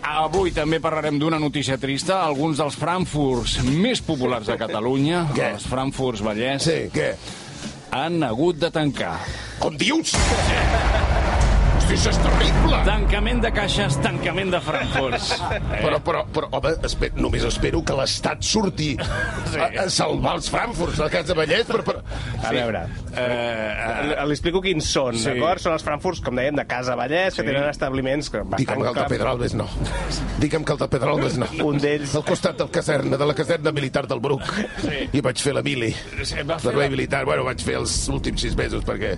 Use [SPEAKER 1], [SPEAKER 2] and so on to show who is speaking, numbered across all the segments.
[SPEAKER 1] Avui també parlarem d'una notícia trista. Alguns dels Frankfurts més populars de Catalunya,
[SPEAKER 2] Què?
[SPEAKER 1] els Frankfurts Vallès,
[SPEAKER 2] Sí, què?
[SPEAKER 1] han hagut de tancar.
[SPEAKER 2] Com dius? Hosti, això és terrible!
[SPEAKER 1] Tancament de caixes, tancament de Frankfurts.
[SPEAKER 2] Però, però, però, home, esper, només espero que l'Estat surti a, a salvar els Frankfurts, la Casa Vallès, però... però...
[SPEAKER 1] A veure, eh,
[SPEAKER 3] Li li explico quins són,
[SPEAKER 1] Sí.
[SPEAKER 3] d'acord? Són els Frankfurts, com dèiem, de Casa Vallès, que tenen establiments que
[SPEAKER 2] Digue'm que el de Pedralbes no. Digue'm que el de Pedralbes no.
[SPEAKER 3] Un d'ells-
[SPEAKER 2] Al costat del caserna, de la caserna militar del Bruc. Sí. I vaig fer la mili.
[SPEAKER 1] Sí, va fer
[SPEAKER 2] Servei
[SPEAKER 1] la-
[SPEAKER 2] militar, bueno, vaig fer els últims sis mesos, perquè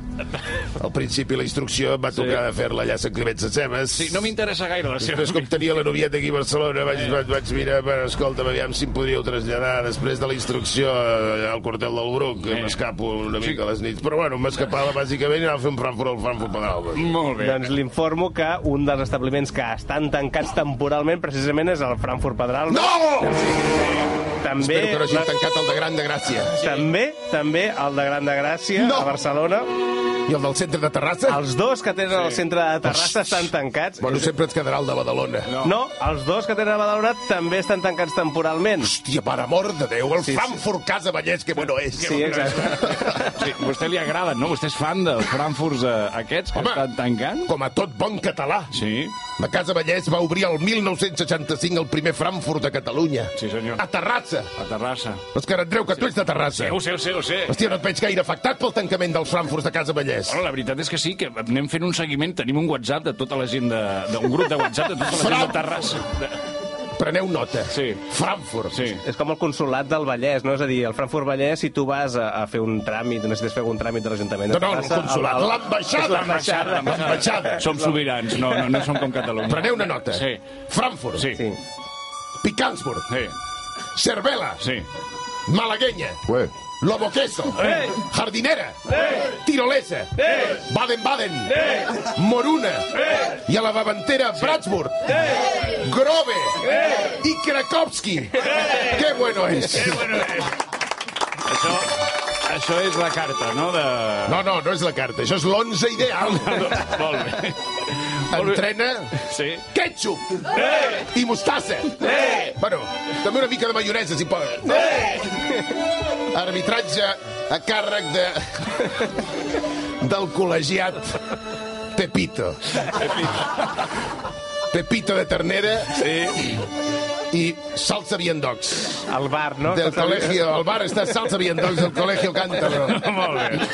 [SPEAKER 2] al principi la instrucció em va tocar sí. fer-la allà a Sant Climent Sescebes.
[SPEAKER 1] sí, no m'interessa gaire la seva...
[SPEAKER 2] Després, com tenia la novieta aquí a Barcelona, vaig, vaig, vaig mirar, bueno, escolta'm, aviam si em podríeu traslladar després de la instrucció eh, al quartel del Bruc, que m'escapo una mica a les nits. Però, bueno, m'escapava bàsicament i anava a fer un Frankfurt al Frankfurt Pedralbes.
[SPEAKER 1] Molt bé.
[SPEAKER 3] Doncs l'informo que un dels establiments que estan tancats temporalment precisament és el Frankfurt Pedral.
[SPEAKER 2] No!
[SPEAKER 3] També,
[SPEAKER 2] Espero que no hagin
[SPEAKER 3] la-
[SPEAKER 2] tancat el de Gran de Gràcia.
[SPEAKER 3] també, també el de Gran de Gràcia,
[SPEAKER 2] No!
[SPEAKER 3] a Barcelona.
[SPEAKER 2] I el del centre de Terrassa?
[SPEAKER 3] Els dos que tenen al centre de Terrassa estan tancats.
[SPEAKER 2] Bueno, sempre ens quedarà el de Badalona. No.
[SPEAKER 3] No, els dos que tenen a Badalona també estan tancats temporalment.
[SPEAKER 2] Hòstia, per amor de Déu, el sí, Frankfurt Casa Vallès, que bueno és.
[SPEAKER 3] Sí, exacte.
[SPEAKER 1] Sí, a vostè li agraden, no? Vostè és fan dels Frankfurts eh, aquests que
[SPEAKER 2] Home.
[SPEAKER 1] estan tancant?
[SPEAKER 2] Com a tot bon català.
[SPEAKER 1] Sí.
[SPEAKER 2] La Casa Vallès va obrir el 1965 el primer Frankfurt de Catalunya.
[SPEAKER 1] Sí, senyor.
[SPEAKER 2] A Terrassa.
[SPEAKER 1] A Terrassa.
[SPEAKER 2] És que Andreu, que tu ets de Terrassa.
[SPEAKER 1] Eh, Ho sé, ho sé, ho sé.
[SPEAKER 2] Hòstia, no et veig gaire afectat pel tancament dels Frankfurts de Casa Vallès.
[SPEAKER 1] Hola, la veritat és que sí, que anem fent un seguiment. Tenim un WhatsApp de tota la gent de... d'un grup de WhatsApp de tota la gent de Terrassa. De...
[SPEAKER 2] Preneu nota.
[SPEAKER 1] Ah. Sí.
[SPEAKER 2] Frankfurt.
[SPEAKER 1] Sí.
[SPEAKER 3] És com el consulat del Vallès, no? És a dir, el Frankfurt Vallès, si tu vas a, a fer un tràmit, necessites fer algun tràmit de l'Ajuntament
[SPEAKER 2] No,
[SPEAKER 3] de
[SPEAKER 2] no, el
[SPEAKER 3] Terrassa,
[SPEAKER 2] consulat.
[SPEAKER 3] el- el-
[SPEAKER 2] L'ambaixada.
[SPEAKER 3] és L'ambaixada.
[SPEAKER 2] L'ambaixada.
[SPEAKER 1] Som sobirans, no, no, no som com Catalunya.
[SPEAKER 2] Preneu una nota.
[SPEAKER 1] Sí.
[SPEAKER 2] Frankfurt.
[SPEAKER 1] Sí.
[SPEAKER 3] Sí.
[SPEAKER 2] Picansburg.
[SPEAKER 1] Sí,
[SPEAKER 2] Cervela.
[SPEAKER 1] sí.
[SPEAKER 2] Malagueña.
[SPEAKER 4] Ué.
[SPEAKER 2] Lobo queso.
[SPEAKER 3] Eh.
[SPEAKER 2] Jardinera. Tirolesa. Baden-Baden. Moruna. I a la davantera, Bratsburg. Grove. I Krakowski. Que bueno és.
[SPEAKER 1] Això, això és la carta, no? De...
[SPEAKER 2] No, no, no és la carta. Això és l'11 ideal.
[SPEAKER 1] Molt bé. Molt bé. Eh.
[SPEAKER 2] Entrena
[SPEAKER 1] Sí.
[SPEAKER 2] ketchup i mostassa.
[SPEAKER 1] Eh.
[SPEAKER 2] Bueno, també una mica de maionesa, si poden.
[SPEAKER 1] Eh.
[SPEAKER 2] Arbitratge a càrrec de... del col·legiat Pepito. Pepito de ternera
[SPEAKER 1] Sí.
[SPEAKER 2] i salsa viandocs.
[SPEAKER 3] El bar,
[SPEAKER 1] Ah,
[SPEAKER 3] no?
[SPEAKER 2] Del col·legio, al bar està salsa viandocs del col·legio Càntaro.
[SPEAKER 1] Molt bé.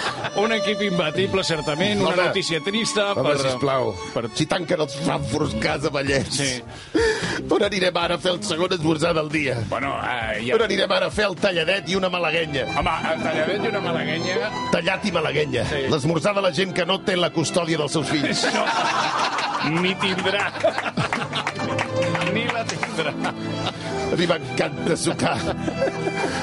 [SPEAKER 1] Un equip imbatible, certament, una
[SPEAKER 2] Home.
[SPEAKER 1] notícia trista.
[SPEAKER 2] Home, per, sisplau, per...
[SPEAKER 1] Per...
[SPEAKER 2] si tanquen els Frankfurts Casa Vallès,
[SPEAKER 1] Sí.
[SPEAKER 2] on anirem ara a fer el segon esmorzar del dia?
[SPEAKER 1] Bueno, eh, ja...
[SPEAKER 2] On anirem ara a fer el talladet i una malaguenya?
[SPEAKER 1] Home, el talladet i una malaguenya...
[SPEAKER 2] Tallat i malaguenya. Sí. L'esmorzar de la gent que no té la custòdia dels seus fills.
[SPEAKER 1] No, ni tindrà. Ni la tindrà.
[SPEAKER 2] A mi m'encanta sucar.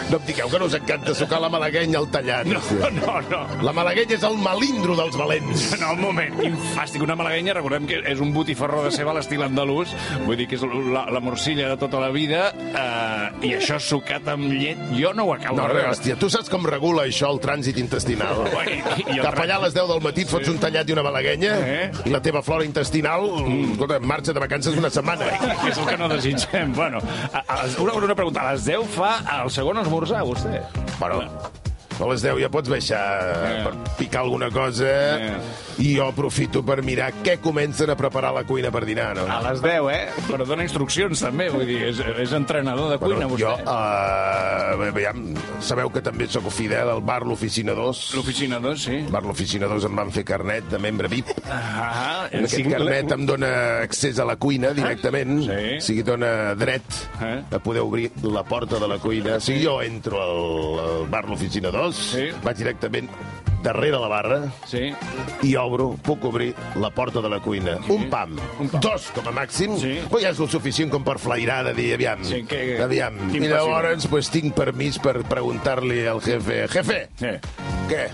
[SPEAKER 2] No em digueu que no us encanta sucar la malaguenya al tallat.
[SPEAKER 1] No, no, no.
[SPEAKER 2] La malaguenya és el malindro dels valents.
[SPEAKER 1] No, un moment. Infàstic, una malaguenya, recordem que és un botifarró de ceba a l'estil andalús, vull dir que és la, la morcilla de tota la vida, eh, i això sucat amb llet, jo no ho acabo
[SPEAKER 2] No,
[SPEAKER 1] de
[SPEAKER 2] res,
[SPEAKER 1] veure.
[SPEAKER 2] hòstia, tu saps com regula això el trànsit intestinal?
[SPEAKER 1] Bueno, i- i el
[SPEAKER 2] Cap allà a les 10 del matí et fots un tallat i una malaguenya
[SPEAKER 1] Eh? Mm.
[SPEAKER 2] i la teva flora intestinal escolta, marxa de vacances una setmana.
[SPEAKER 1] Que és el que no desitgem. Bueno, a, a, les- una, una pregunta. A les 10 fa el segon esmorzar, vostè?
[SPEAKER 2] Però a les 10 ja pots baixar
[SPEAKER 1] Eh.
[SPEAKER 2] per picar alguna cosa
[SPEAKER 1] Eh.
[SPEAKER 2] i jo aprofito per mirar què comencen a preparar a la cuina per dinar, no?
[SPEAKER 1] Ah,
[SPEAKER 3] A les 10, eh?
[SPEAKER 1] Però dona instruccions, també, vull dir, és, és entrenador de cuina,
[SPEAKER 2] jo,
[SPEAKER 1] vostè.
[SPEAKER 2] eh, aviam, sabeu que també sóc fidel al bar L'Oficina 2.
[SPEAKER 1] L'oficina 2, sí.
[SPEAKER 2] Bar L'Oficina 2 em van fer carnet de membre VIP.
[SPEAKER 1] Ah,
[SPEAKER 2] En aquest eh,
[SPEAKER 3] Signa-
[SPEAKER 2] carnet em dóna accés a la cuina directament,
[SPEAKER 1] Eh? Sí.
[SPEAKER 2] o sigui, dóna dret
[SPEAKER 1] Eh?
[SPEAKER 2] a poder obrir la porta de la cuina. O sigui, jo entro al, al bar l'oficina 2,
[SPEAKER 1] Sí.
[SPEAKER 2] vaig directament darrere la barra
[SPEAKER 1] sí.
[SPEAKER 2] i obro, puc obrir la porta de la cuina. Un, pam,
[SPEAKER 1] Un pam.
[SPEAKER 2] dos com a màxim,
[SPEAKER 1] Sí.
[SPEAKER 2] però ja és el suficient com per flairar de dir, aviam,
[SPEAKER 1] Sí, que-
[SPEAKER 2] aviam.
[SPEAKER 1] quin
[SPEAKER 2] I
[SPEAKER 1] passi-
[SPEAKER 2] llavors pues, tinc permís per preguntar-li al jefe, jefe,
[SPEAKER 1] Eh,
[SPEAKER 2] què?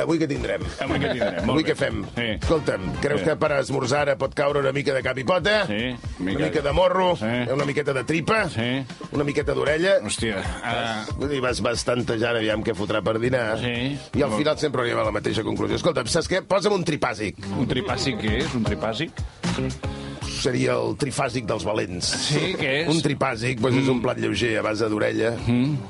[SPEAKER 2] Avui què tindrem?
[SPEAKER 1] avui que tindrem. Molt
[SPEAKER 2] Avui
[SPEAKER 1] bé.
[SPEAKER 2] què fem?
[SPEAKER 1] Sí.
[SPEAKER 2] Escolta'm, creus
[SPEAKER 1] Sí.
[SPEAKER 2] que per esmorzar ara pot caure una mica de cap i pota?
[SPEAKER 1] Sí,
[SPEAKER 2] Una
[SPEAKER 1] mica
[SPEAKER 2] mica
[SPEAKER 1] de-
[SPEAKER 2] de morro,
[SPEAKER 1] Sí.
[SPEAKER 2] una miqueta de tripa,
[SPEAKER 1] Sí.
[SPEAKER 2] una miqueta d'orella...
[SPEAKER 1] Hòstia. Ah,
[SPEAKER 2] Vull dir, vas, vas tantejant aviam què fotrà per dinar.
[SPEAKER 1] Sí.
[SPEAKER 2] I al final sempre arriba a la mateixa conclusió. Escolta'm, saps què? Posa'm un tripàsic.
[SPEAKER 1] un tripàssic què és? Un tripàssic?
[SPEAKER 2] seria el trifàsic dels valents.
[SPEAKER 1] Sí, què és? Mm.
[SPEAKER 2] Un tripàsic doncs és un plat lleuger a base d'orella,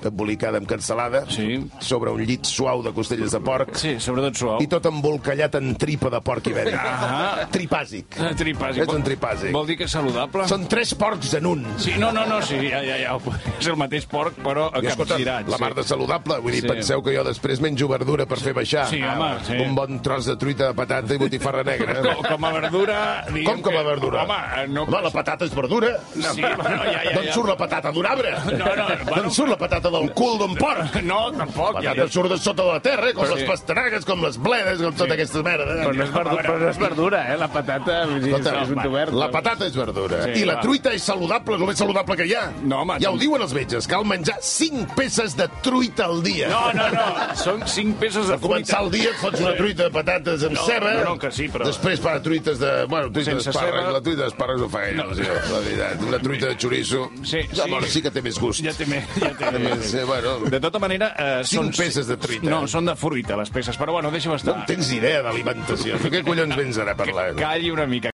[SPEAKER 2] embolicada amb cansalada,
[SPEAKER 1] Sí.
[SPEAKER 2] sobre un llit suau de costelles de porc,
[SPEAKER 1] Sí, sobretot suau.
[SPEAKER 2] i tot embolcallat en tripa de porc ibèric.
[SPEAKER 1] Ah.
[SPEAKER 2] Tripàsic.
[SPEAKER 1] Ah, Tripàsic.
[SPEAKER 2] És un tripàsic.
[SPEAKER 1] Vol dir que és saludable?
[SPEAKER 2] Són tres porcs en un.
[SPEAKER 1] Sí, no, no, no, sí, ja, ja, ja. ho- És el mateix porc, però
[SPEAKER 2] I escolta,
[SPEAKER 1] capgirat.
[SPEAKER 2] la mar de saludable. Vull dir,
[SPEAKER 1] Sí.
[SPEAKER 2] penseu que jo després menjo verdura per fer baixar.
[SPEAKER 1] Sí, home, sí.
[SPEAKER 2] Un bon tros de truita de patata i botifarra negra.
[SPEAKER 1] sí. Com, com a verdura... diguem
[SPEAKER 2] Com com a
[SPEAKER 1] que-
[SPEAKER 2] verdura?
[SPEAKER 1] Home, eh, no...
[SPEAKER 2] Home, la patata és verdura.
[SPEAKER 1] Sí, bueno, ja, ja, ja.
[SPEAKER 2] D'on surt la patata d'un arbre?
[SPEAKER 1] No, no, bueno.
[SPEAKER 2] D'on surt la patata del cul d'un porc?
[SPEAKER 1] No, tampoc.
[SPEAKER 2] La
[SPEAKER 1] Ja,
[SPEAKER 2] patata
[SPEAKER 1] ja.
[SPEAKER 2] surt de sota de la terra, eh, com
[SPEAKER 1] Però
[SPEAKER 2] les
[SPEAKER 1] sí.
[SPEAKER 2] pastanagues, com les bledes, com tota aquesta merda.
[SPEAKER 3] Però no és verdura, però no és verdura eh? La patata vull dir,
[SPEAKER 2] Escolta,
[SPEAKER 3] és un tubert.
[SPEAKER 2] la patata és verdura.
[SPEAKER 1] eh? Sí,
[SPEAKER 2] I la
[SPEAKER 1] va.
[SPEAKER 2] truita és saludable, és el més saludable que hi ha.
[SPEAKER 1] No, home,
[SPEAKER 2] ja ho
[SPEAKER 1] doncs-
[SPEAKER 2] diuen els metges, cal menjar 5 peces de truita al dia.
[SPEAKER 1] No, no, no, són cinc peces de
[SPEAKER 2] Començar el dia et fots una truita de patates amb
[SPEAKER 1] No,
[SPEAKER 2] ceba.
[SPEAKER 1] no, no, que sí, però-
[SPEAKER 2] Després per truites de... Bueno, truita
[SPEAKER 1] Sense
[SPEAKER 2] d'espàrrecs.
[SPEAKER 1] ceba.
[SPEAKER 2] La truita d'espàrrecs no fa gaire, no. la veritat. Una truita de xoriço.
[SPEAKER 1] Sí,
[SPEAKER 2] ja,
[SPEAKER 1] sí.
[SPEAKER 2] Bueno, sí que té més gust.
[SPEAKER 1] Ja té més, ja té
[SPEAKER 2] Té més,
[SPEAKER 1] més.
[SPEAKER 2] eh, bueno,
[SPEAKER 1] De tota manera... Eh,
[SPEAKER 2] Cinc peces de truita.
[SPEAKER 1] No, són de fruita, les peces, però bueno, deixa-ho
[SPEAKER 2] no
[SPEAKER 1] estar.
[SPEAKER 2] en tens idea d'alimentació. De què collons vens ara a parlar?
[SPEAKER 1] Calli una mica.